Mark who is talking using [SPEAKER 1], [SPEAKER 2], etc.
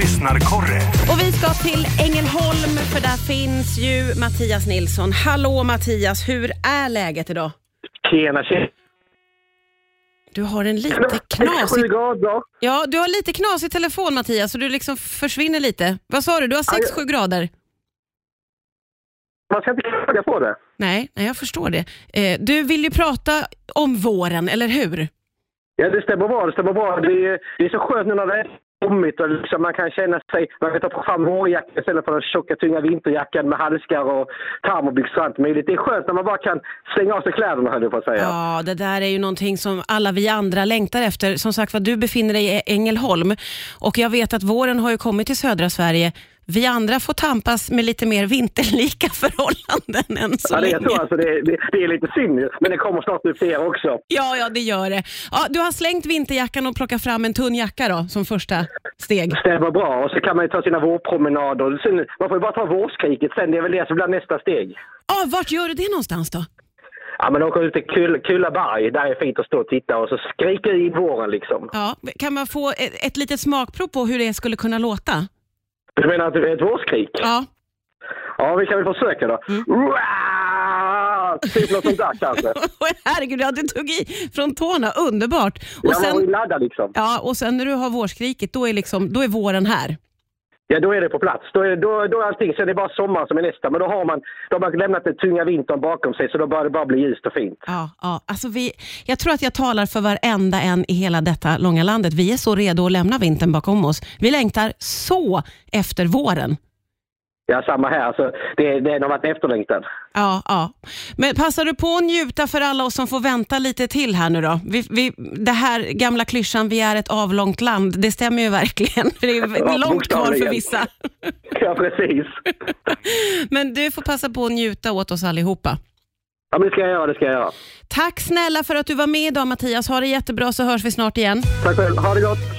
[SPEAKER 1] Lyssnarkorre.
[SPEAKER 2] Och vi ska till Ängelholm för där finns ju Mattias Nilsson. Hallå Mattias, hur är läget idag?
[SPEAKER 3] Tjena, tjena.
[SPEAKER 2] Du har en lite knasig...
[SPEAKER 3] Sju grader.
[SPEAKER 2] Ja, du har lite knasig telefon Mattias, så du liksom försvinner lite. Vad sa du, du har 6-7 grader?
[SPEAKER 3] Man ska inte klaga på det.
[SPEAKER 2] Nej, nej, jag förstår det. Eh, du vill ju prata om våren, eller hur?
[SPEAKER 3] Ja, det stämmer bra. Det stämmer bra. Det är, det är så skönt nu när det är sommigt och liksom man kan känna sig... Man kan ta fram vårjackan istället för den tjocka, tunga vinterjackan med handskar och termobyxor och allt möjligt. Det är skönt när man bara kan slänga av sig kläderna, höll jag på att säga.
[SPEAKER 2] Ja, det där är ju någonting som alla vi andra längtar efter. Som sagt var, du befinner dig i Ängelholm och jag vet att våren har ju kommit till södra Sverige. Vi andra får tampas med lite mer vinterlika förhållanden än så
[SPEAKER 3] Ja, det,
[SPEAKER 2] länge.
[SPEAKER 3] jag tror alltså det, är- det, det är lite synd ju, men det kommer snart upp till er också.
[SPEAKER 2] Ja, ja, det gör det. Ja, du har slängt vinterjackan och plockat fram en tunn jacka då, som första steg.
[SPEAKER 3] Stämmer bra. Och så kan man ju ta sina vårpromenader. Sen, man får ju bara ta vårskriket sen. Det är väl det som blir nästa steg.
[SPEAKER 2] Ja, vart gör du det någonstans då?
[SPEAKER 3] Ja, men åka ut till Kull- Kullaberg. Där är det fint att stå och titta och så skrika i våren liksom.
[SPEAKER 2] Ja, kan man få ett, ett litet smakprov på hur det skulle kunna låta?
[SPEAKER 3] Du menar att det är ett vårskrik?
[SPEAKER 2] Ja. Mm.
[SPEAKER 3] Ja, vi kan väl försöka då. Uah! Typ något sånt där kanske.
[SPEAKER 2] Herregud, ja, du tog i från tårna. Underbart. Och
[SPEAKER 3] Jag var ju
[SPEAKER 2] sen,
[SPEAKER 3] laddad liksom.
[SPEAKER 2] ja, och sen när du har vårskriket, då är, liksom, då är våren här.
[SPEAKER 3] Ja, då är det på plats. Då är, då, då är allting. Sen är det bara sommaren som är nästa. Men då har man, då har man lämnat den tunga vintern bakom sig så då börjar det bara bli ljust och fint.
[SPEAKER 2] Ja, ja. Alltså vi, jag tror att jag talar för varenda en i hela detta långa landet. Vi är så redo att lämna vintern bakom oss. Vi längtar så efter våren.
[SPEAKER 3] Ja, samma här. Så det, det har varit efterlängtad.
[SPEAKER 2] Ja, ja. Men passar du på att njuta för alla oss som får vänta lite till här nu då? Vi, vi, det här gamla klyschan, vi är ett avlångt land, det stämmer ju verkligen. För det är
[SPEAKER 3] Ja,
[SPEAKER 2] långt kvar för
[SPEAKER 3] bokstavligen.
[SPEAKER 2] vissa.
[SPEAKER 3] Ja, precis.
[SPEAKER 2] Men du får passa på att njuta åt oss allihopa.
[SPEAKER 3] Ja, men det ska jag göra. Det ska jag göra.
[SPEAKER 2] Tack snälla för att du var med idag Mattias. Ha det jättebra så hörs vi snart igen.
[SPEAKER 3] Tack själv. Ha det gott.